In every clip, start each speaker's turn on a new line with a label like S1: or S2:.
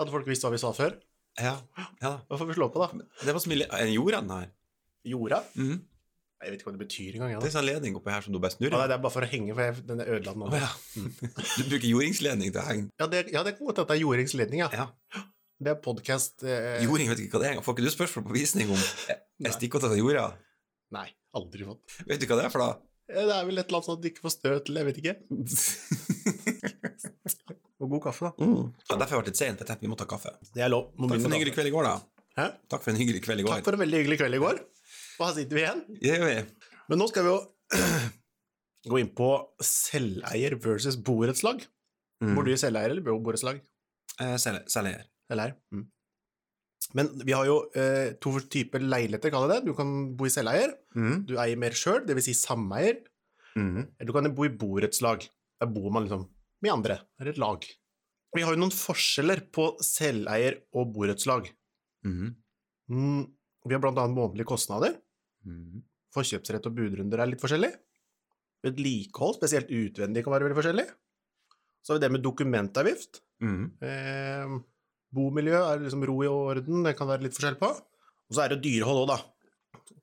S1: hadde folk visst hva vi sa før.
S2: Ja, ja.
S1: Da får vi slå på, da.
S2: Det var smilig. En jord av den eh, her.
S1: Jorda?
S2: Mhm.
S1: Jeg vet ikke hva det betyr engang. jeg,
S2: Det
S1: da.
S2: er sånn ledning oppå her som du bare snurrer.
S1: Ja, nei, det er Mm. bare for å henge, for jeg, den er ødela nå.
S2: Å, ja. Du bruker jordingsledning til å henge.
S1: Ja, det, ja, det kan godt hende at det er Jorings ledning, ja.
S2: Ja.
S1: Det er podkast eh,
S2: Jording vet ikke hva det er engang. Får ikke du spørsmål på visning om
S1: Nei.
S2: jeg stikker til jorda?
S1: Nei, aldri fått.
S2: Vet du hva det er for da?
S1: Eh, Det er vel et eller annet sånn at du ikke får støt eller jeg vet ikke. Og god kaffe, da.
S2: Mm. Ja, Derfor har jeg vært litt sent. Jeg tenkte vi må ta kaffe.
S1: Det er lov.
S2: Takk for en hyggelig kveld i går, da.
S1: Hæ?
S2: Takk for en hyggelig kveld i går.
S1: Takk for en veldig hyggelig kveld i går. Og her sitter vi igjen.
S2: Det gjør vi.
S1: Men nå skal vi jo gå inn på selveier versus borettslag.
S2: Mm.
S1: Bor du i selveier eller bor- borettslag?
S2: Eh, Selger. selger.
S1: Eller? Mm. Men vi har jo eh, to typer leiligheter, kaller jeg det. Du kan bo i selveier. Du eier mer sjøl, dvs. Si sameier.
S2: Mhm.
S1: Eller du kan bo i borettslag. Der bor man liksom med andre, eller et lag. Vi har jo noen forskjeller på selveier og borettslag.
S2: Mhm.
S1: Mm, vi har bl.a. månedlige kostnader. Mm-hmm.
S2: Mhm.
S1: Forkjøpsrett og budrunder er litt forskjellig. Vedlikehold, spesielt utvendig, kan være veldig forskjellig. Så har vi det med dokumentavgift.
S2: Mhm.
S1: Eh, bomiljø er liksom ro i orden, det kan være litt forskjell på. Og så er det dyrehold òg, da.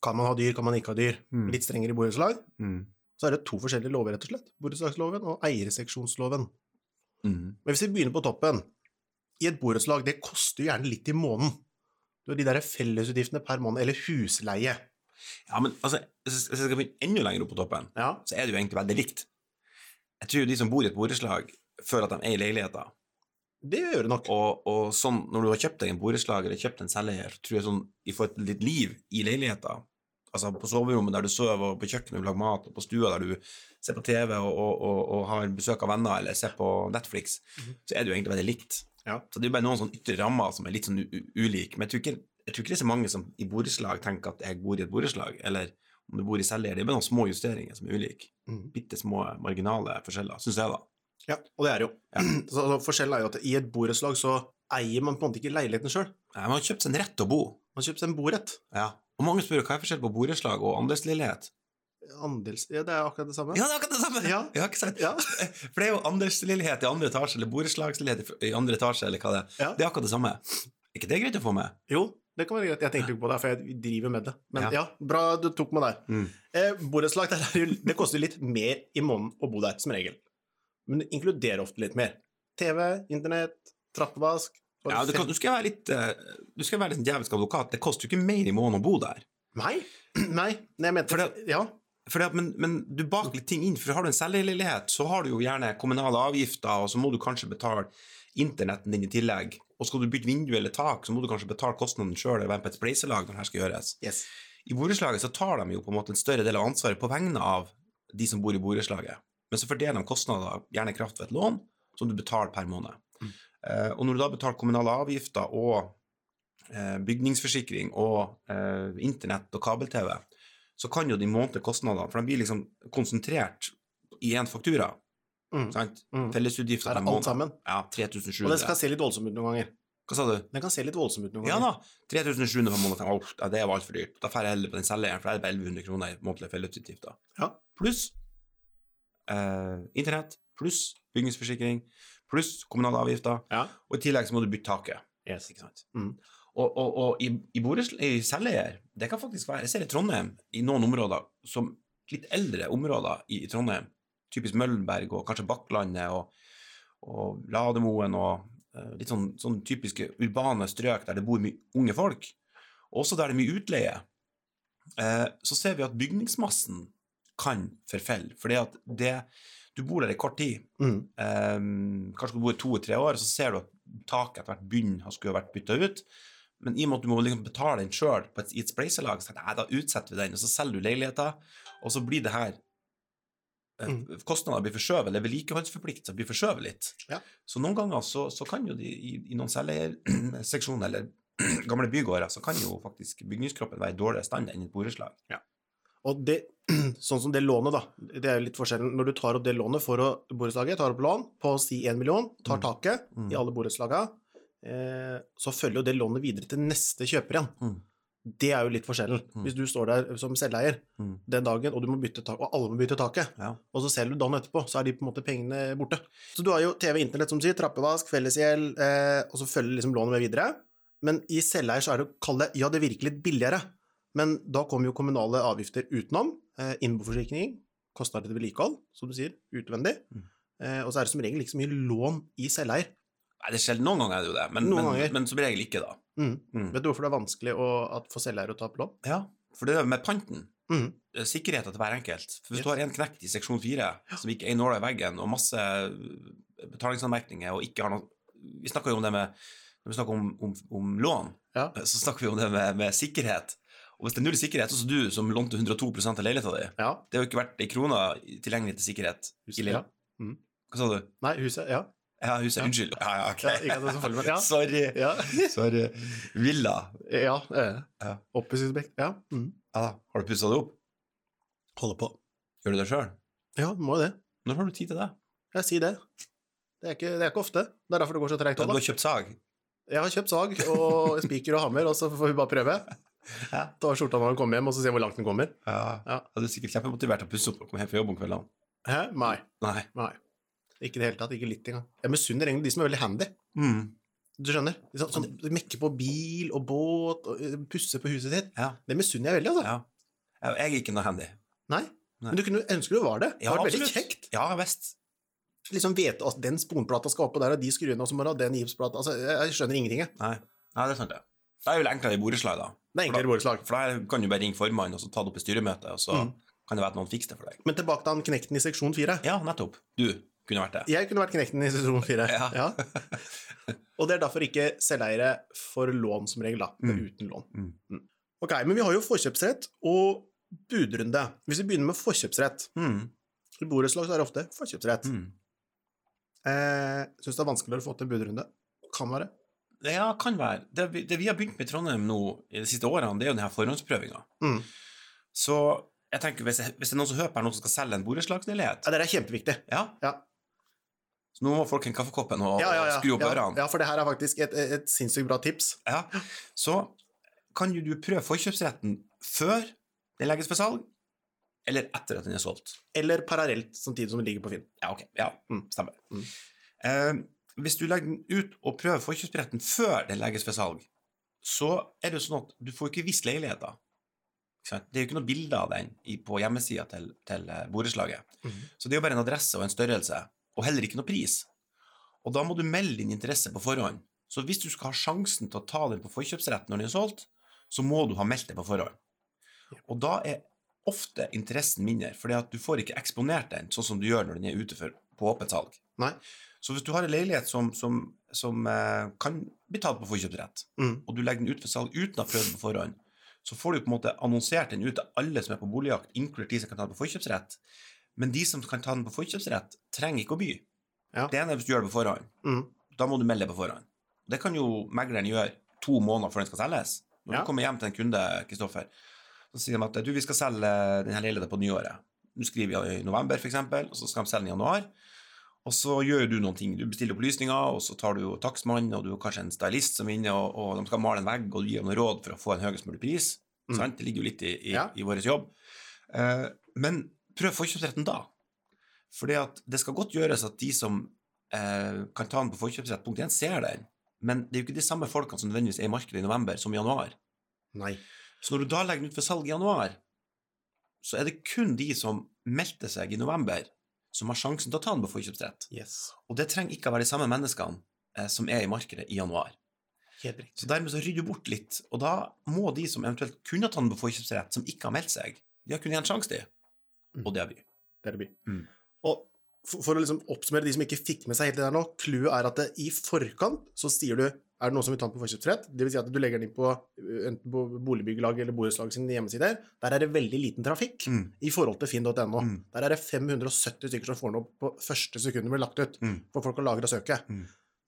S1: Kan man ha dyr, kan man ikke ha dyr?
S2: Mm.
S1: Litt strengere i borettslag.
S2: Mhm.
S1: Så er det to forskjellige lover, rett og slett. Borettslagsloven og eierseksjonsloven.
S2: Mhm.
S1: Men hvis vi begynner på toppen I et borettslag, det koster jo gjerne litt i måneden. Du har de der fellesutgiftene per måned, eller husleie.
S2: Ja, men altså, hvis hvis jeg skal begynne enda lenger opp på toppen,
S1: Ja.
S2: så er det jo egentlig veldig likt. Jeg tror jo de som bor i et borettslag, føler at de eier leiligheter.
S1: Det gjør det nok.
S2: Og, og sånn, når du har kjøpt deg en borettslag eller kjøpt en selveier, så tror jeg sånn, vi får et litt liv i leiligheten. Altså på soverommet der du sover, og på kjøkkenet du lager mat, og på stua der du ser på TV og, og, og, og har besøk av venner eller ser på Netflix, så er det jo egentlig veldig likt.
S1: Ja.
S2: Så det er jo bare noen sånne ytre rammer som er litt sånn u- u- ulik. Men jeg tror, ikke, jeg tror ikke det er så mange som i borettslag tenker at jeg bor i et borettslag, eller om du bor i selveier. Det er bare noen små justeringer som er ulike.
S1: Mhm.
S2: Bitte små marginale forskjeller, syns jeg, da.
S1: Ja, og det er det jo. Så, så forskjellen er jo at i et borettslag så eier man på en måte ikke leiligheten sjøl.
S2: Nei, Eh, Man har kjøpt seg en rett til å bo.
S1: Man kjøper seg en borett.
S2: Ja. Og mange spør hva er forskjell på borettslag og andelsleilighet.
S1: Andels... Ja, det er akkurat det samme.
S2: Ja, det er akkurat det samme!
S1: Ja.
S2: ikke sant?
S1: Ja.
S2: For det er jo andelsleilighet i andre etasje, eller borettslagsleilighet i andre etasje, eller hva det er.
S1: Ja.
S2: Det er akkurat det samme. Er ikke det greit å få med?
S1: Jo, det kan være greit. Jeg tenkte jo ikke på det, for jeg driver med det. Men
S2: Ja. Mm.
S1: ja, bra du tok meg der. Eh, Borettslag der er jo- det koster jo litt mer i måneden å bo der, som regel. Men det inkluderer ofte litt mer. TV, internett, trappevask og
S2: Ja, du, kan, du skal være litt eh, Du skal være litt sånn djevelsk advokat. Det koster jo ikke mer i måneden å bo der.
S1: Nei, nei, nei, jeg mente
S2: For det-
S1: Ja,
S2: For det, at- men, men du baker litt ting inn, for har du en selvleilighet, så har du jo gjerne kommunale avgifter, og så må du kanskje betale internetten din i tillegg. Og skal du bytte vindu eller tak, så må du kanskje betale kostnaden sjøl eller være med på et spleiselag når det her skal gjøres.
S1: yes.
S2: I borettslaget så tar de jo på en måte en større del av ansvaret på vegne av de som bor i borettslaget, men så fordeler de kostnader, gjerne i kraft ved et lån, som du betaler per måned.
S1: Mm.
S2: Eh, og når du da betaler kommunale avgifter og eh, bygningsforsikring og eh, internett og kabel-TV, så kan jo de månedlige kostnadene, for de blir liksom konsentrert i én faktura.
S1: Mm.
S2: Sant?
S1: Mm.
S2: Fellesutgifter
S1: Der er
S2: per
S1: alt
S2: måned.
S1: sammen.
S2: Ja,
S1: Og den skal
S2: 3700.
S1: se litt voldsom ut noen ganger.
S2: Hva sa du?
S1: Den kan se litt voldsom ut noen
S2: Ja
S1: ganger.
S2: da, 3700 per måned. Åh, ja, det var altfor dyrt. Da drar jeg heller på den selgeren, for det er bare 1100 kroner i månedlige fellesutgifter.
S1: Ja.
S2: Pluss eh, internett, pluss bygningsforsikring, pluss kommunale avgifter,
S1: Ja.
S2: og i tillegg så må du bytte taket.
S1: Yes.
S2: Ikke sant?
S1: Mm.
S2: Og, og, og i, i, borettslag- i selgeier, det kan faktisk være Jeg ser i Trondheim, i noen områder, som litt eldre områder i, i Trondheim, typisk Møllenberg og kanskje Bakklandet og, og Lademoen og eh, litt sånn, sånn typiske urbane strøk der det bor mye unge folk, og også der det er mye utleie, eh, så ser vi at bygningsmassen kan forfelle. Fordi at det Du bor der i kort tid.
S1: Mm.
S2: Eh, kanskje du bor i to-tre år, så ser du at taket etter hvert begynner å skulle ha vært bytta ut. Men i og med at du må liksom betale den sjøl i et spleiselag, så tenker jeg, nei, da utsetter vi den, og så selger du leiligheten, og så blir det her eh,
S1: Mm.
S2: Kostnader blir forskjøvet, eller vedlikeholdsforpliktelser blir forskjøvet litt.
S1: Ja.
S2: Så noen ganger så, så kan jo de i, i noen selgerseksjoner eller gamle bygårder, så kan jo faktisk bygningskroppen være i dårligere stand enn et borettslag.
S1: Og det, sånn som det lånet, da. Det er jo litt forskjellen. Når du tar opp det lånet for å borettslaget, tar opp lån på si 1 million, tar
S2: Mm.
S1: taket
S2: Mm.
S1: i alle borettslagene, eh, så følger jo det lånet videre til neste kjøper igjen.
S2: Mm.
S1: Det er jo litt forskjellen.
S2: Mm.
S1: Hvis du står der som selveier
S2: Mm.
S1: den dagen, og du må bytte tak, og alle må bytte taket,
S2: Ja.
S1: og så selger du dagen etterpå, så er de på en måte pengene borte. Så du har jo TV, internett, som du sier, trappevask, fellesgjeld, eh, og så følger liksom lånet med videre. Men i selveier så er det å kalle det Ja, det virker litt billigere, men da kommer jo kommunale avgifter utenom. Eh, Innboforsikring, kostnader til vedlikehold, som du sier, utvendig.
S2: Mm.
S1: Eh, og så er det som regel ikke så mye lån i selveier.
S2: Nei, det er sjelden. Noen ganger er det jo det, men,
S1: Noen
S2: men,
S1: ganger.
S2: men som regel ikke, da.
S1: Mm.
S2: Mm.
S1: Vet du hvorfor det er vanskelig å, at for selveier å ta opp lån?
S2: Ja, for det er med panten.
S1: Mm.
S2: eh, Sikkerheten til hver enkelt. For Hvis
S1: Yes.
S2: du har en knekt i seksjon fire som ikke er en nåla i veggen, og masse eh, betalingsanmerkninger og ikke har noe Vi snakker jo om det med Når vi snakker om, om, om lån,
S1: Ja.
S2: eh, så snakker vi om det med, med sikkerhet. Og hvis det er null sikkerhet, sånn som du som lånte 102 av leiligheten din
S1: Ja.
S2: Det har jo ikke vært ei krone tilgjengelig til sikkerhet.
S1: Huset,
S2: i leil-
S1: ja.
S2: Hva sa du?
S1: Nei, huset. Ja.
S2: Ja, huset.
S1: Ja.
S2: Unnskyld. Ja, ja, ok.
S1: ja ikke at det er så farlig, men ja.
S2: Sorry.
S1: Ja.
S2: Sorry. Villa.
S1: ja, eh,
S2: Ja.
S1: Oppussingsobjekt. Ja. Mm.
S2: Ja, da. har du pussa det opp?
S1: Holder på.
S2: Gjør du det sjøl?
S1: Ja, du må jo det.
S2: Når har du tid til det?
S1: Jeg sier det. Det er ikke, det er ikke ofte. Det er derfor det går så tregt.
S2: Ja, du
S1: Ola.
S2: har kjøpt sag?
S1: Jeg har kjøpt sag og spiker og hammer, og så får vi bare prøve.
S2: Ja.
S1: Ta av skjorta når den kommer hjem, og så se hvor langt den kommer.
S2: Ja.
S1: Ja.
S2: Du er sikkert kjempemotivert til å pusse opp og komme hjem fra jobb om kveldene.
S1: Hæ? Nei.
S2: Nei.
S1: Nei. Ikke i det hele tatt. Ikke litt engang. Jeg misunner egentlig de som er veldig handy.
S2: Mm,
S1: Du skjønner? De som, som mekker på bil og båt og eh, pusser på huset sitt.
S2: Ja.
S1: Det misunner jeg veldig, altså.
S2: ja. Jeg jeg er ikke noe handy.
S1: Nei.
S2: Nei.
S1: Men du kunne ønske du var det. Det
S2: Ja,
S1: hadde vært veldig
S2: absolutt.
S1: kjekt.
S2: Ja visst.
S1: liksom vite at den sponplata skal oppå der, og de skruene, og så må du ha den gipsplata altså, jeg, jeg skjønner ingenting, jeg.
S2: Nei. Nei, det er sant, det. Det er vel enklere i borettslag, da.
S1: Det er enklere borettslag.
S2: For der kan du bare ringe formannen og så ta det opp i styremøtet, og så
S1: Mm.
S2: kan det være at noen fikser det for deg.
S1: Men tilbake til han knekten i seksjon fire.
S2: Ja, nettopp. Du kunne vært det.
S1: Jeg kunne vært knekten i seksjon fire.
S2: Ja.
S1: Og det er derfor ikke selveiere får lån som regel, da. Det er
S2: Mm.
S1: uten lån.
S2: Mm.
S1: Ok, men vi har jo forkjøpsrett og budrunde. Hvis vi begynner med forkjøpsrett
S2: Mm.
S1: I borettslag så er det ofte forkjøpsrett.
S2: Mm.
S1: Eh, Syns det er vanskeligere å få til en budrunde. Kan være.
S2: Det ja, kan være. Det, vi- det vi har begynt med i Trondheim nå i de siste årene, det er jo denne forhåndsprøvinga.
S1: Mm.
S2: Så jeg tenker, hvis, jeg, hvis det er noen som hører på her nå som skal selge en borettslagsleilighet
S1: Ja, det er kjempeviktig.
S2: ja.
S1: Ja.
S2: Så nå må folk hente kaffekoppen og,
S1: Ja, ja, ja.
S2: og skru opp
S1: ja,
S2: ørene.
S1: ja, for det her er faktisk et, et, et sinnssykt bra tips.
S2: Ja. Så kan jo du prøve forkjøpsretten før den legges for salg, eller etter at den er solgt.
S1: Eller parallelt samtidig som det ligger på Finn.
S2: Ja, ok. Ja,
S1: Mm.
S2: stemmer.
S1: Mm.
S2: Eh, hvis du legger den ut og prøver forkjøpsretten før den legges for salg, så er det jo sånn at du får ikke vist leiligheten. Ikke sant? Det er jo ikke noe bilde av den i- på hjemmesida til, til eh, borettslaget.
S1: Mhm.
S2: Så det er jo bare en adresse og en størrelse, og heller ikke noe pris. Og da må du melde din interesse på forhånd. Så hvis du skal ha sjansen til å ta den på forkjøpsrett når den er solgt, så må du ha meldt det på forhånd. Og da er ofte interessen mindre, fordi at du får ikke eksponert den sånn som du gjør når den er ute for, på åpent salg.
S1: Nei.
S2: Så hvis du har en leilighet som, som, som eh, kan bli tatt på forkjøpsrett,
S1: Mm.
S2: og du legger den ut for salg uten å ha prøvd den på forhånd, så får du på en måte annonsert den ut til alle som er på boligjakt, inkludert de som kan ta den på forkjøpsrett. Men de som kan ta den på forkjøpsrett, trenger ikke å by.
S1: Ja.
S2: Det ene er hvis du gjør det på forhånd.
S1: Mm.
S2: Da må du melde det på forhånd. Det kan jo megleren gjøre to måneder før den skal selges. Når
S1: Ja.
S2: du kommer hjem til en kunde, Kristoffer, så sier de at du, vi skal selge denne leiligheten på nyåret. Du skriver i november, for eksempel, og så skal de selge den i januar. Og så gjør du noen ting. Du bestiller opplysninger, og så tar du jo takstmann, og du har kanskje en stylist som er inne, og, og de skal male en vegg, og du gir dem noen råd for å få en høyest mulig pris.
S1: Mm.
S2: Sant? Det ligger jo litt i, i,
S1: Ja.
S2: i vår jobb. Eh, men prøv forkjøpsretten da. Fordi at det skal godt gjøres at de som eh, kan ta den på forkjøpsrett, punkt 1, ser den. Men det er jo ikke de samme folkene som nødvendigvis er i markedet i november som i januar.
S1: Nei.
S2: Så når du da legger den ut for salg i januar, så er det kun de som meldte seg i november, som har sjansen til å ta den på forkjøpsrett.
S1: Yes.
S2: Og det trenger ikke å være de samme menneskene eh, som er i markedet i januar.
S1: Helt riktig.
S2: Så dermed så rydder du bort litt, og da må de som eventuelt kunne ta den på forkjøpsrett, som ikke har meldt seg, de har kun én sjanse, de. Og det har vi.
S1: Det er det by.
S2: Mm.
S1: Og for, for å liksom oppsummere de som ikke fikk med seg helt det der nå, clouet er at det, i forkant så sier du er det noen som vil ta den på forkjøpsrett? Det vil si at du legger den inn på øh, enten på boligbyggelag eller borettslag sine hjemmesider. Der er det veldig liten trafikk
S2: Mm.
S1: i forhold til finn.no.
S2: Mm.
S1: Der er det 570 stykker som får den opp på første sekundet det blir lagt ut,
S2: Mm.
S1: for folk å lagre og søke.
S2: Mm.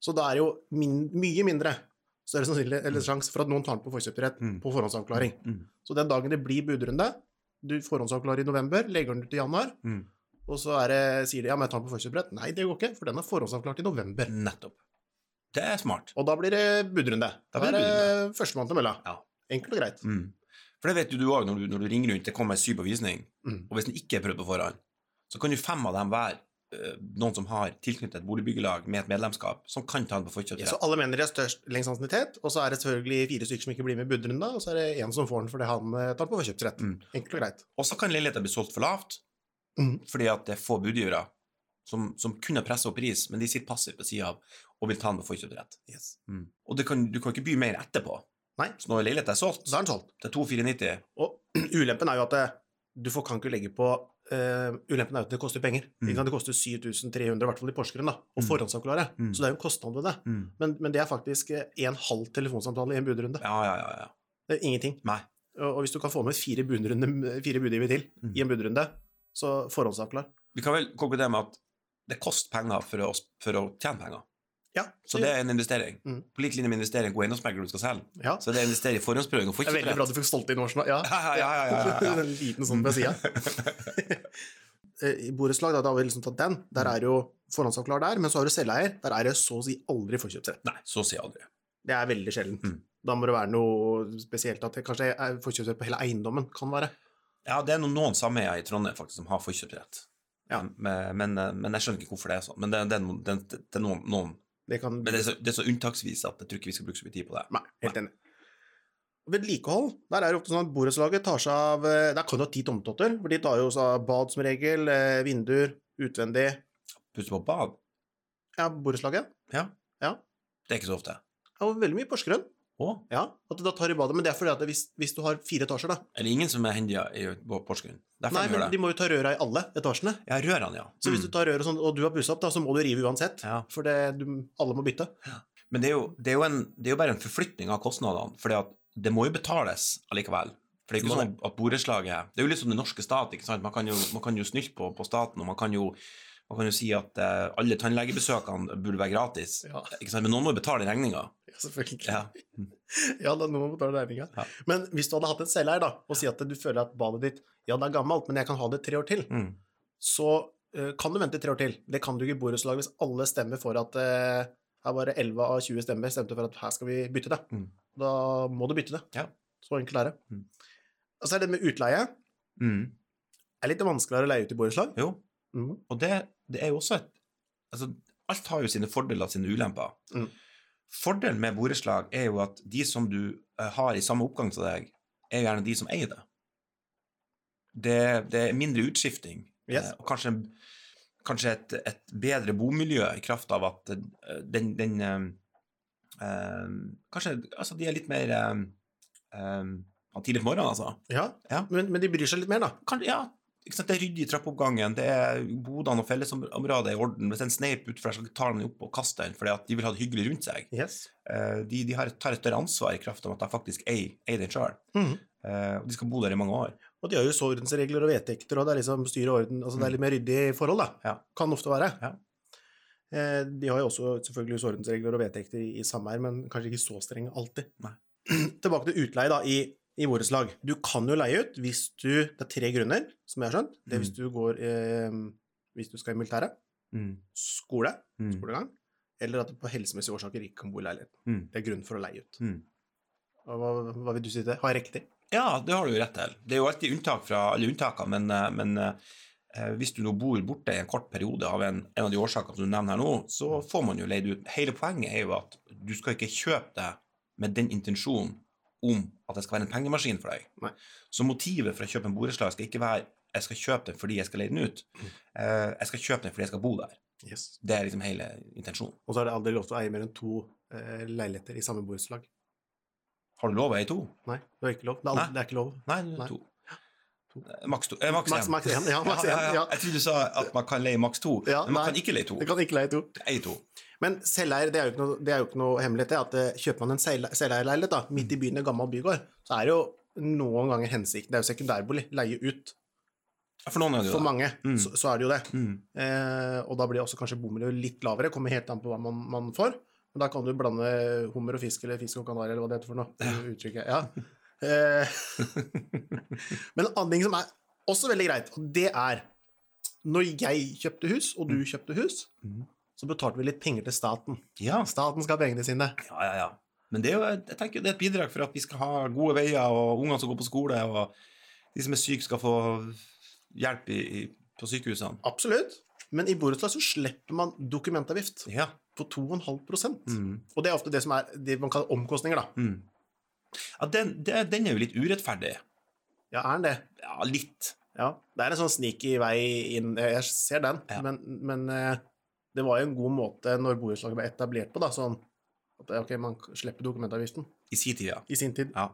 S1: Så det er jo min, mye mindre større sannsynlig eller
S2: Mm.
S1: sjanse for at noen tar den på forkjøpsrett
S2: Mm.
S1: på forhåndsavklaring.
S2: Mm.
S1: Så den dagen det blir budrunde, du forhåndsavklarer i november, legger den ut i januar,
S2: Mm.
S1: og så er det, sier de ja, men jeg tar den på forkjøpsrett. Nei, det går ikke, for den er forhåndsavklart i november.
S2: Nettopp. Det er smart.
S1: Og da blir det budrunde.
S2: Da
S1: Da
S2: blir
S1: er
S2: det
S1: det førstemann til mølla.
S2: Ja.
S1: Enkelt og greit.
S2: Mm. For det vet jo du òg når, du- når du ringer rundt. Det kommer syv på visning.
S1: Mm.
S2: Og hvis den ikke er prøvd på forhånd, så kan jo fem av dem være eh, noen som har tilknyttet et boligbyggelag med et medlemskap, som kan ta den på forkjøpsrett.
S1: Så alle mener de har størst lengst ansiennitet, og så er det selvfølgelig fire stykker som ikke blir med i budrunda, og så er det én som får den fordi han eh, tar den på forkjøpsrett.
S2: Mm.
S1: Enkelt og greit.
S2: Og så kan leiligheter bli solgt for lavt,
S1: Mhm.
S2: fordi at det er få budgivere som, som kunne presse opp pris, men de sitter passivt på sida av og vil ta den på forkjøpsrett. Mm. Og det kan, du kan ikke by mer etterpå.
S1: Nei.
S2: Så når leiligheten er solgt
S1: Så er den solgt.
S2: til 2490
S1: Og ulempen er jo at det, du får, kan ikke legge på eh, Ulempen er jo at det koster penger.
S2: Mm.
S1: Ikke sant? Det koster 7300, i hvert fall i Porsgrunn, da, å
S2: Mm.
S1: forhåndsavklare.
S2: Mm.
S1: Så det er jo en kostnad ved det. Men, men det er faktisk eh, en halv telefonsamtale i en budrunde.
S2: Ja, ja, ja. ja.
S1: Det er ingenting.
S2: Nei.
S1: Og, og hvis du kan få med fire, budrunde- fire budgivere til
S2: Mm.
S1: i en budrunde, så forhåndsavklar.
S2: Vi kan vel konkludere med at det koster penger for å, for å tjene penger.
S1: Ja,
S2: Så det er en investering.
S1: Mhm.
S2: På lik linje med å investere i en god eiendomsmegler du skal selge.
S1: ja.
S2: Så det er å investere i forhåndsprøving og
S1: Det er veldig
S2: forkjøpsrett.
S1: bra du fikk stolt inn årsene. Ja.
S2: Ja, ja, ja, ja, ja, ja.
S1: en liten sånn på sida. Eh, I borettslag, da, da har vi liksom tatt den. Der er jo forhåndsavklar der, men så har du selveier. Der er det så å si aldri forkjøpsrett.
S2: Nei, så sier jeg aldri.
S1: Det er veldig sjeldent.
S2: Mm.
S1: Da må det være noe spesielt at det kanskje er forkjøpsrett på hele eiendommen. Kan være.
S2: Ja, det er noen, noen sameier i Trondheim faktisk som har forkjøpsrett.
S1: Ja.
S2: Men, men, men jeg skjønner ikke hvorfor det er sånn. Men det, det, er noen- det, det er noen, noen.
S1: Det kan
S2: Men det er, så, det er så unntaksvis at jeg tror ikke vi skal bruke så mye tid på det.
S1: Nei, helt enig. Og Vedlikehold. Der er det ofte sånn at borettslaget tar seg av eh, Der kan du ha ti tomtotter, for de tar jo seg av bad som regel, eh, vinduer, utvendig
S2: Pusse på bad,
S1: Ja, borettslaget.
S2: det er ikke så ofte.
S1: Det er jo veldig mye i Porsgrunn.
S2: Å,
S1: Ja, at du da tar i badet, men det er fordi at hvis, hvis du har fire etasjer, da
S2: er det ingen som er hendige i på Porsgrunn? Derfor
S1: Nei,
S2: de
S1: men
S2: gjør
S1: de
S2: det.
S1: må jo ta røra i alle etasjene.
S2: Ja, rørene, ja.
S1: Så hvis du
S2: Mm.
S1: tar røret sånn, og du har pussa opp, da, så må du rive uansett.
S2: ja.
S1: For det, du, alle må bytte.
S2: Men det er, jo, det, er jo en, det er jo bare en forflytning av kostnadene, for det må jo betales allikevel. For det
S1: Det
S2: er ikke
S1: må
S2: sånn at borettslaget Det er jo litt som den norske stat. ikke sant? Man kan jo, man kan jo snylte på, på staten, og man kan jo, man kan jo si at eh, alle tannlegebesøkene burde være gratis.
S1: Ja,
S2: Ikke sant? Men noen må jo betale regninga.
S1: selvfølgelig.
S2: Ja.
S1: Ja, da, nå må du ta regninga.
S2: Ja.
S1: Men hvis du hadde hatt en selveier, da, og si at du føler at badet ditt ja, det er gammelt, men jeg kan ha det tre år til,
S2: Mm.
S1: så eh, kan du vente tre år til. Det kan du ikke i borettslag hvis alle stemmer for at eh, her var det 11 av 20 stemmer stemte for at her skal vi bytte det.
S2: Mm.
S1: Da må du bytte det.
S2: Ja.
S1: Så enkelt er det.
S2: Mm.
S1: Og så er det med utleie.
S2: Mm.
S1: er litt vanskeligere å leie ut i borettslag. Mm.
S2: Jo. Og det, det er jo også et altså, Alt har jo sine fordeler og sine ulemper.
S1: Mm.
S2: Fordelen med borettslag er jo at de som du eh, har i samme oppgang som deg, er gjerne de som eier det. Det, det er mindre utskifting,
S1: Yes.
S2: eh, og kanskje, kanskje et, et bedre bomiljø i kraft av at eh, den, den eh, eh, Kanskje altså, de er litt mer eh, eh, Tidlig på morgenen, altså.
S1: Ja,
S2: Ja.
S1: Men, men de bryr seg litt mer, da.
S2: Kan, ja, ikke sant? Det er ryddig i trappeoppgangen, det er bodene og fellesområdet er i orden. Hvis en sneip utfor der, så tar den opp og kaster den, fordi at de vil ha det hyggelig rundt seg. Eh, De, de har, tar et større ansvar i kraft av at de faktisk eier, eier den sjøl.
S1: Mhm.
S2: Og de skal bo der i mange år.
S1: Og de har jo så ordensregler og vedtekter, og det er liksom styr og orden. altså Det er litt mer ryddige forhold, da.
S2: Ja.
S1: Kan ofte være.
S2: Ja.
S1: Eh, De har jo også selvfølgelig så ordensregler og vedtekter i i sameier, men kanskje ikke så strenge alltid.
S2: Nei.
S1: Tilbake til utleie da, i, i borettslag. Du kan jo leie ut hvis du Det er tre grunner, som jeg har skjønt. Det er hvis du går eh, Hvis du skal i militæret, skole,
S2: Mm.
S1: skolegang, eller at du på helsemessige årsaker ikke kan bo i leiligheten.
S2: Mm.
S1: Det er grunn for å leie ut.
S2: Mm.
S1: Og Hva, hva vil du si til det? Har jeg riktig?
S2: Ja, det har du jo rett til. Det er jo alltid unntak fra alle unntakene, men, eh, men eh, hvis du nå bor borte i en kort periode av en, en av de årsakene som du nevner her nå, så får man jo leid ut. Hele poenget er jo at du skal ikke kjøpe det med den intensjonen om at det skal være en pengemaskin for deg.
S1: Nei.
S2: Så motivet for å kjøpe en borettslag skal ikke være jeg skal kjøpe den fordi jeg skal leie den ut.
S1: Mm.
S2: Eh, Jeg skal kjøpe den fordi jeg skal bo der. Det er liksom hele intensjonen.
S1: Og så er det aldri lov til å eie mer enn to eh, leiligheter i samme borettslag.
S2: Har du lov å eie to?
S1: Nei, det er ikke lov. Det er, aldri,
S2: Nei.
S1: det er ikke lov.
S2: Nei, det er
S1: Nei.
S2: to.
S1: To.
S2: Eh, Maks to. Eh, maks
S1: Maks
S2: én.
S1: maks én. Ja, maks én.
S2: ja, ja.
S1: Ja.
S2: Jeg trodde du sa at man kan leie maks to,
S1: Ja,
S2: men man
S1: nei.
S2: kan ikke leie to.
S1: Du kan ikke leie to.
S2: Eie to.
S1: Men selveier, det er jo ikke noe, det er jo ikke noe hemmelighet, det. At eh, kjøper man en selv- selveierleilighet da, midt i byen i en gammel bygård, så er det jo noen ganger hensikten Det er jo sekundærbolig. Leie ut.
S2: Ja, For noen er det jo
S1: For
S2: det.
S1: mange
S2: Mm.
S1: så, så er det jo det.
S2: Mm.
S1: Eh, og da blir også kanskje bomiljøet litt lavere, kommer helt an på hva man, man får. Men da kan du blande hummer og fisk, eller fisk og kanari, eller hva det heter for noe. Uttrykket, ja. Eh, Men en annen ting som er også veldig greit, og det er når jeg kjøpte hus, og
S2: Mm.
S1: du kjøpte hus,
S2: Mhm.
S1: så betalte vi litt penger til staten.
S2: Ja.
S1: Staten skal ha pengene sine.
S2: ja, ja, ja. Men det er jo, jeg tenker det er et bidrag for at vi skal ha gode veier, og ungene som går på skole, og de som er syke, skal få hjelp i, i, på sykehusene.
S1: Absolutt. Men i borettslag så slipper man dokumentavgift
S2: Ja.
S1: på 2,5
S2: Mm,
S1: Og det er ofte det som er det man kaller omkostninger, da.
S2: mm. ja den, det, den er jo litt urettferdig.
S1: Ja, er den det?
S2: Ja, litt.
S1: Ja. Det er en sånn sneaky vei inn Jeg ser den,
S2: Ja.
S1: men, men eh, det var jo en god måte når borettslaget ble etablert på, da, sånn at ok, man slipper dokumentavgiften
S2: I sin tid, ja.
S1: i sin tid.
S2: ja.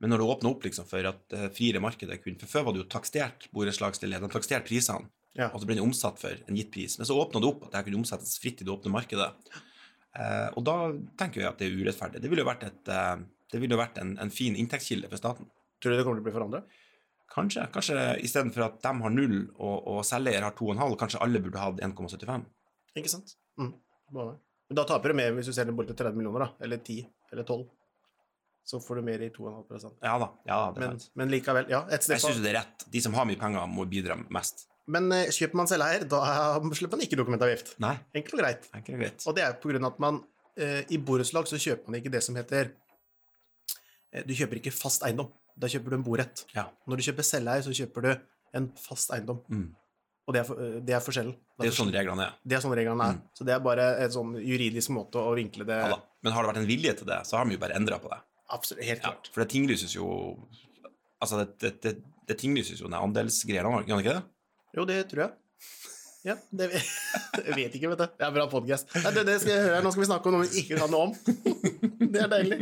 S2: Men når det åpna opp liksom, for at det friere markedet kunne For før var det jo takstert borettslagsleilighet, de taksterte prisene,
S1: Ja.
S2: og så ble det omsatt for en gitt pris. Men så åpna det opp at det her kunne omsettes fritt i det åpne markedet. Eh, og da tenker vi at det er urettferdig. Det ville jo vært, et, eh, det ville jo vært en, en fin inntektskilde for staten.
S1: Tror du det kommer til å bli forandra?
S2: Kanskje kanskje istedenfor at de har null og, og selger har 2,5, kanskje alle burde hatt 1,75.
S1: Ikke sant? Mm. Bare. Men da taper du mer hvis du selger en bolig til 30 millioner, da. Eller 10, eller 12. Så får du mer i 2,5
S2: Ja da. ja da, det er
S1: men,
S2: sant.
S1: men likevel, ja. Et
S2: Jeg
S1: sted
S2: syns det er rett. De som har mye penger, må bidra mest.
S1: Men eh, kjøper man selveier, da slipper man ikke dokumentavgift.
S2: Nei,
S1: Enkelt og greit.
S2: enkelt og greit.
S1: Og det er på grunn av at man eh, i borettslag så kjøper man ikke det som heter eh, Du kjøper ikke fast eiendom. Da kjøper du en borett.
S2: Ja.
S1: Når du kjøper selveier, så kjøper du en fast eiendom.
S2: Mm.
S1: Og det er, for- eh, det er forskjellen.
S2: Det er jo sånn Mm. reglene er.
S1: det er sånn reglene er. Så det er bare en sånn juridisk måte å vinkle det
S2: Ja da. Men har det vært en vilje til det, så har vi jo bare endra på det.
S1: Absolutt, helt
S2: Ja,
S1: klart.
S2: for det tinglyses jo Altså, det, det, det, det tinglyses jo den andelsgreia, gjør det ikke det?
S1: Jo, det tror jeg. Ja, det jeg vet ikke, vet du. Det er bra podkast. Det, det skal jeg høre. her. Nå skal vi snakke om noe vi ikke kan noe om. Det er deilig.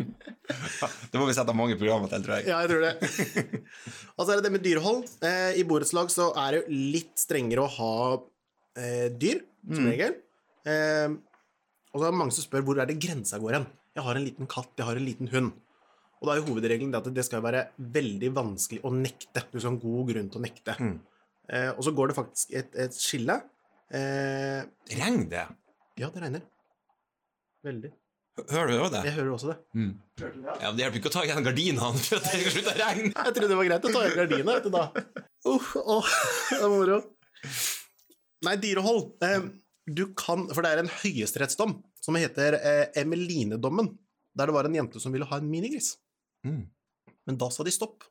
S2: Det må vi sette av mange programmer til, tror jeg.
S1: Ja, jeg tror det. Og så er det det med dyrehold. Eh, I borettslag så er det jo litt strengere å ha eh, dyr, som
S2: Mm.
S1: regel. Eh, og så er det mange som spør hvor er det grensa går hen. Jeg har en liten katt, jeg har en liten hund. Og da er jo hovedregelen det at det skal være veldig vanskelig å nekte. Du skal ha en god grunn til å nekte.
S2: Mm.
S1: Eh, og så går det faktisk et, et skille. Eh,
S2: Regn det.
S1: ja, det regner. Veldig.
S2: Hø- Hører du jo det?
S1: Jeg hører også det.
S2: Mm. Ja, men Det hjelper ikke å ta igjen gardinene for at det skal slutte å regne.
S1: Jeg trodde det var greit å ta i gardina, vet du da. Uff, åh, det var moro. Nei, dyrehold. Eh, Du kan, for det er en høyesterettsdom som heter eh, Emelinedommen, der det var en jente som ville ha en minigris.
S2: Mm.
S1: Men da sa de stopp.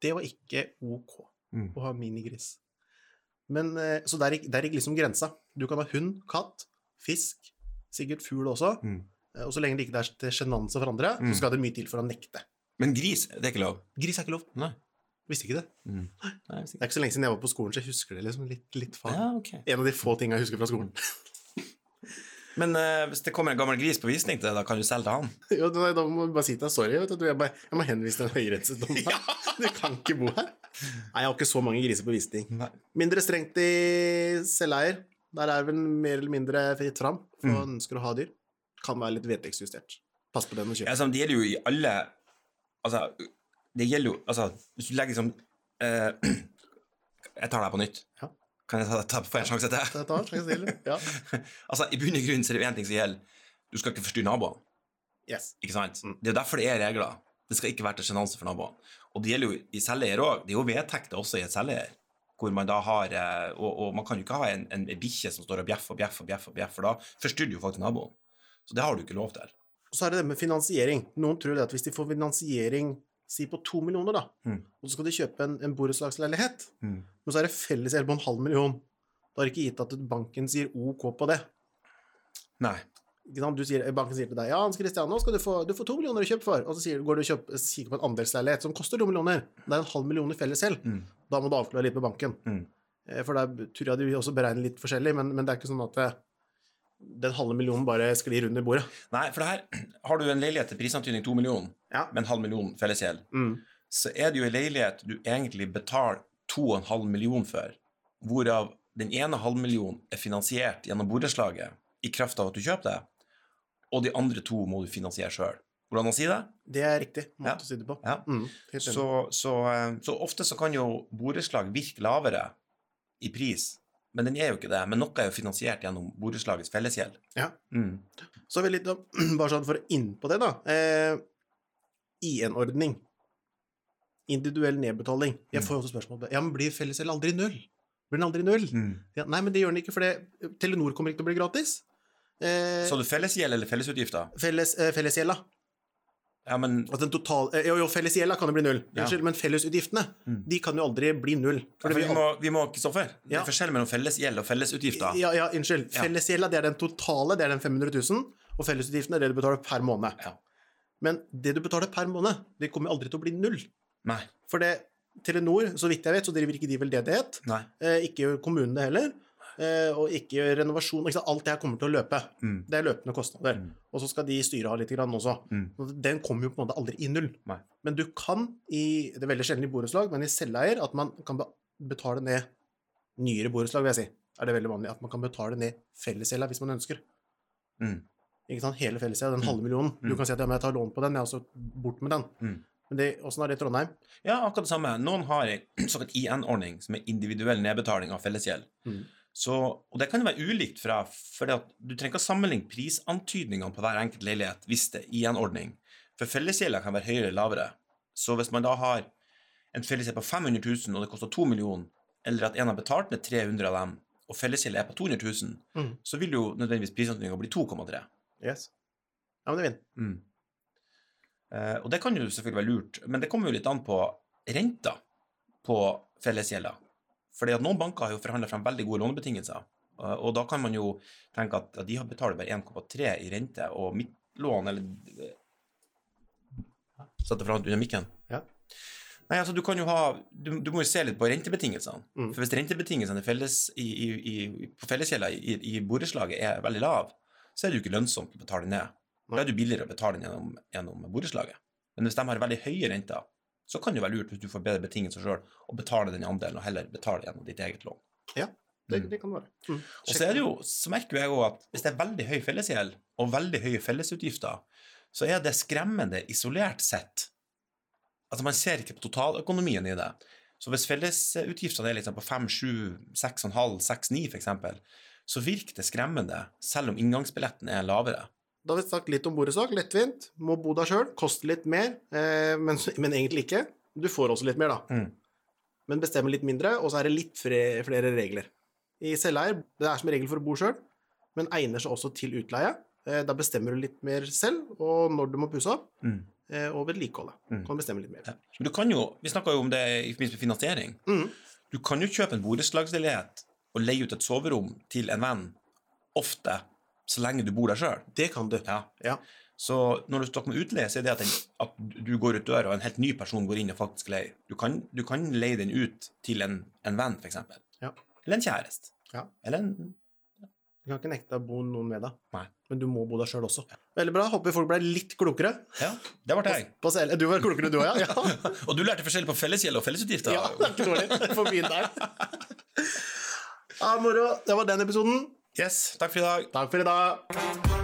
S1: Det var ikke ok
S2: Mm.
S1: å ha minigris. Men, eh, så der gikk, der gikk liksom grensa. Du kan ha hund, katt, fisk, sikkert fugl også.
S2: Mm.
S1: Eh, Og så lenge det ikke er til sjenanse for andre,
S2: Mm.
S1: så skal det mye til for å nekte.
S2: Men gris, det er ikke lov?
S1: Gris er ikke lov.
S2: Nei.
S1: Visste ikke det.
S2: Mm. Nei,
S1: Det
S2: hvis ikke.
S1: er ikke så lenge siden jeg var på skolen, så jeg husker det liksom litt, litt faen.
S2: Ja, ok.
S1: En av de få tingene jeg husker fra skolen.
S2: Men eh, hvis det kommer en gammel gris på visning til deg, da kan du selge til han?
S1: Jo, da, da må jeg bare si til deg sorry. Vet du. Jeg, bare, jeg må henvise til en høyesterettsdom. her. Du kan ikke bo her. Nei, jeg har ikke så mange griser på visning.
S2: Nei.
S1: Mindre strengt i selveier. Der er vel mer eller mindre fritt fram for
S2: Mm.
S1: mm. ønsker å ha dyr. Kan være litt vedtektsjustert. Pass på den og
S2: Ja,
S1: kjøp.
S2: altså, det gjelder jo i alle Altså, det gjelder jo Altså, hvis du legger sånn eh, Jeg tar det her på nytt.
S1: Ja.
S2: Kan jeg ta, ta, får jeg en sjanse til?
S1: Dette har jeg sagt tidligere.
S2: Altså, I bunn og grunn så er det jo én ting som gjelder. Du skal ikke forstyrre naboene.
S1: Ja. Yes.
S2: ikke sant?
S1: Mm.
S2: Det er jo derfor det er regler. Det skal ikke være til sjenanse for naboene. Og det gjelder jo i selgeier òg. Det er jo vedtekter også i et selgeier. Hvor man da har eh, Og, og man kan jo ikke ha en, en bikkje som står og bjeffer og bjeffer, og bjeffer, og bjeffer, for da forstyrrer du jo faktisk naboen. Så det har du ikke lov til.
S1: Og så er det det med finansiering. Noen tror det at hvis de får finansiering si på to millioner, da,
S2: Mm.
S1: og så skal de kjøpe en, en borettslagsleilighet,
S2: Mm.
S1: men så er det felles gjeld på en halv million. Da har det ikke gitt at banken sier OK på det.
S2: Nei.
S1: Ikke sant? Du sier, banken sier til deg ja, Hans Christian, nå skal du få, du får to millioner å kjøpe for. Og så sier, går du og kjøper, kikker på en andelsleilighet som koster to millioner. Det er en halv million i felles gjeld.
S2: Mm.
S1: Da må du avklare litt med banken.
S2: Mm.
S1: Eh, For der tror jeg de også beregner litt forskjellig, men, men det er ikke sånn at eh, den halve millionen bare sklir under bordet.
S2: Nei, for det her har du en leilighet til prisantydning 2 millioner,
S1: Ja.
S2: med en halv million fellesgjeld,
S1: Mm.
S2: så er det jo en leilighet du egentlig betaler 2,5 million for, hvorav den ene halv million er finansiert gjennom borettslaget i kraft av at du kjøper det, og de andre to må du finansiere sjøl. Hvordan å si det?
S1: Det er riktig måte
S2: Ja.
S1: å si det på.
S2: Ja.
S1: Mm, helt enig.
S2: Så, så, eh, så ofte så kan jo borettslag virke lavere i pris, men den er jo ikke det. Men noe er jo finansiert gjennom borettslagets fellesgjeld.
S1: Ja.
S2: Mm.
S1: Så har vi litt om, bare sånn for å inn på det, da. Eh, IN-ordning. Individuell nedbetaling. Jeg
S2: Mm.
S1: får jo også spørsmål om det. Ja, men blir fellesgjeld
S2: Mm.
S1: aldri null? Blir den aldri null? Ja, nei, men det gjør den ikke, for det, Telenor kommer ikke til å bli gratis. Eh,
S2: Sa du fellesgjeld eller fellesutgifter?
S1: felles, eh, fellesgjelda.
S2: Ja, men
S1: At den total, eh, jo, jo, fellesgjelda kan jo bli null,
S2: Ja.
S1: Unnskyld, men fellesutgiftene
S2: Mm.
S1: de kan jo aldri bli null.
S2: for
S1: Fordi
S2: vi må, vi må Kristoffer, det
S1: Ja.
S2: er forskjell mellom fellesgjeld og fellesutgifter.
S1: ja, ja, unnskyld.
S2: Ja.
S1: Fellesgjelda det er den totale, det er den 500 000, og fellesutgiftene er det du betaler per måned.
S2: Ja.
S1: Men det du betaler per måned, det kommer aldri til å bli null.
S2: Nei.
S1: For det, Telenor, så vidt jeg vet, så driver ikke de veldedighet.
S2: Nei.
S1: Eh, ikke gjør kommunene heller. Eh, og ikke gjør renovasjon. Ikke sant? Alt det her kommer til å løpe.
S2: Mm.
S1: Det er løpende kostnader.
S2: Mm.
S1: Og så skal de styre av litt grann også.
S2: Mm.
S1: Og Den kommer jo på en måte aldri i null.
S2: Nei.
S1: Men du kan i Det er veldig sjelden i borettslag, men i selveier at man kan be- betale ned nyere borettslag, vil jeg si. Er det veldig vanlig at man kan betale ned fellesgjelda hvis man ønsker.
S2: Mm.
S1: Ikke sant? Hele fellesgjelda, den
S2: Mm.
S1: halve millionen. Du
S2: Mm.
S1: kan si at ja, men jeg tar lån på den, jeg er også bort med den.
S2: Mm.
S1: Men det, åssen er det i Trondheim?
S2: Ja, akkurat det samme. Noen har en såkalt IN-ordning, som er individuell nedbetaling av fellesgjeld.
S1: Mm.
S2: Så, og det kan jo være ulikt fra For det at du trenger ikke å sammenligne prisantydningene på hver enkelt leilighet hvis det er IN-ordning. For fellesgjelda kan være høyere eller lavere. Så hvis man da har en fellesgjeld på 500 000, og det koster 2 millioner, eller at en har betalt ned 300 av dem, og fellesgjelda er på 200 000,
S1: Mm.
S2: så vil jo nødvendigvis prisantydninga bli 2,3.
S1: Yes. Ja, men det er vinn.
S2: Mm. Eh, og det kan jo selvfølgelig være lurt, men det kommer jo litt an på renta på fellesgjelda. Fordi at noen banker har jo forhandla frem veldig gode lånebetingelser. eh, og da kan man jo tenke at ja, de har betalt bare 1,3 i rente, og mitt lån eller Satte fra under mikken.
S1: Ja.
S2: Nei, altså du kan jo ha Du, du må jo se litt på rentebetingelsene.
S1: Mm.
S2: For hvis rentebetingelsene i felles, i, i, i, på fellesgjelda i, i borettslaget er veldig lav, så er det jo ikke lønnsomt å betale ned. Da er det jo billigere å betale den gjennom, gjennom borettslaget. Men hvis de har veldig høye renter, så kan det jo være lurt, hvis du får bedre betingelser sjøl, å betale den andelen, og heller betale gjennom ditt eget lån.
S1: Ja, Det,
S2: Mm.
S1: det kan det være. Mm.
S2: Og så er det jo, så merker jeg òg at hvis det er veldig høy fellesgjeld og veldig høye fellesutgifter, så er det skremmende isolert sett. Altså Man ser ikke på totaløkonomien i det. Så hvis fellesutgiftene er liksom på 5, 7, 6,5, 6,9 f.eks., så virker det skremmende, selv om inngangsbilletten er lavere.
S1: Da har vi snakket litt om borettslag. Lettvint. Må bo der sjøl. Koste litt mer, eh, men, men egentlig ikke. Du får også litt mer, da.
S2: Mm.
S1: Men bestemmer litt mindre, og så er det litt fre- flere regler. I selveier det er som regel for å bo sjøl, men egner seg også til utleie. Eh, da bestemmer du litt mer selv, og når du må pusse opp,
S2: Mm.
S1: eh, og vedlikeholdet.
S2: Mm.
S1: Kan du bestemme litt mer.
S2: Ja. Men du kan jo, Vi snakka jo om det i forbindelse med finansiering.
S1: Mm.
S2: Du kan jo kjøpe en borettslagsleilighet og leie ut et soverom til en venn ofte, så lenge du bor der sjøl.
S1: Det kan du.
S2: Ja.
S1: Ja.
S2: Så når du snakker om utleie, så er det at, den, at du går ut døra, og en helt ny person går inn og faktisk leier. Du kan, du kan leie den ut til en, en venn, f.eks.
S1: Ja.
S2: Eller en kjæreste.
S1: Ja.
S2: Eller en
S1: Du kan ikke nekte å bo noen med deg,
S2: Nei.
S1: men du må bo der sjøl også. Veldig bra. Håper folk ble litt klokere.
S2: Ja, det ble jeg.
S1: På selv. Du var klokere, du òg, ja? ja.
S2: Og du lærte forskjell på fellesgjeld og fellesutgifter.
S1: Ja, det er ikke dårlig. Får begynne der. Ja, moro. Det var den episoden.
S2: Yes, takk for i dag.
S1: Takk for i dag.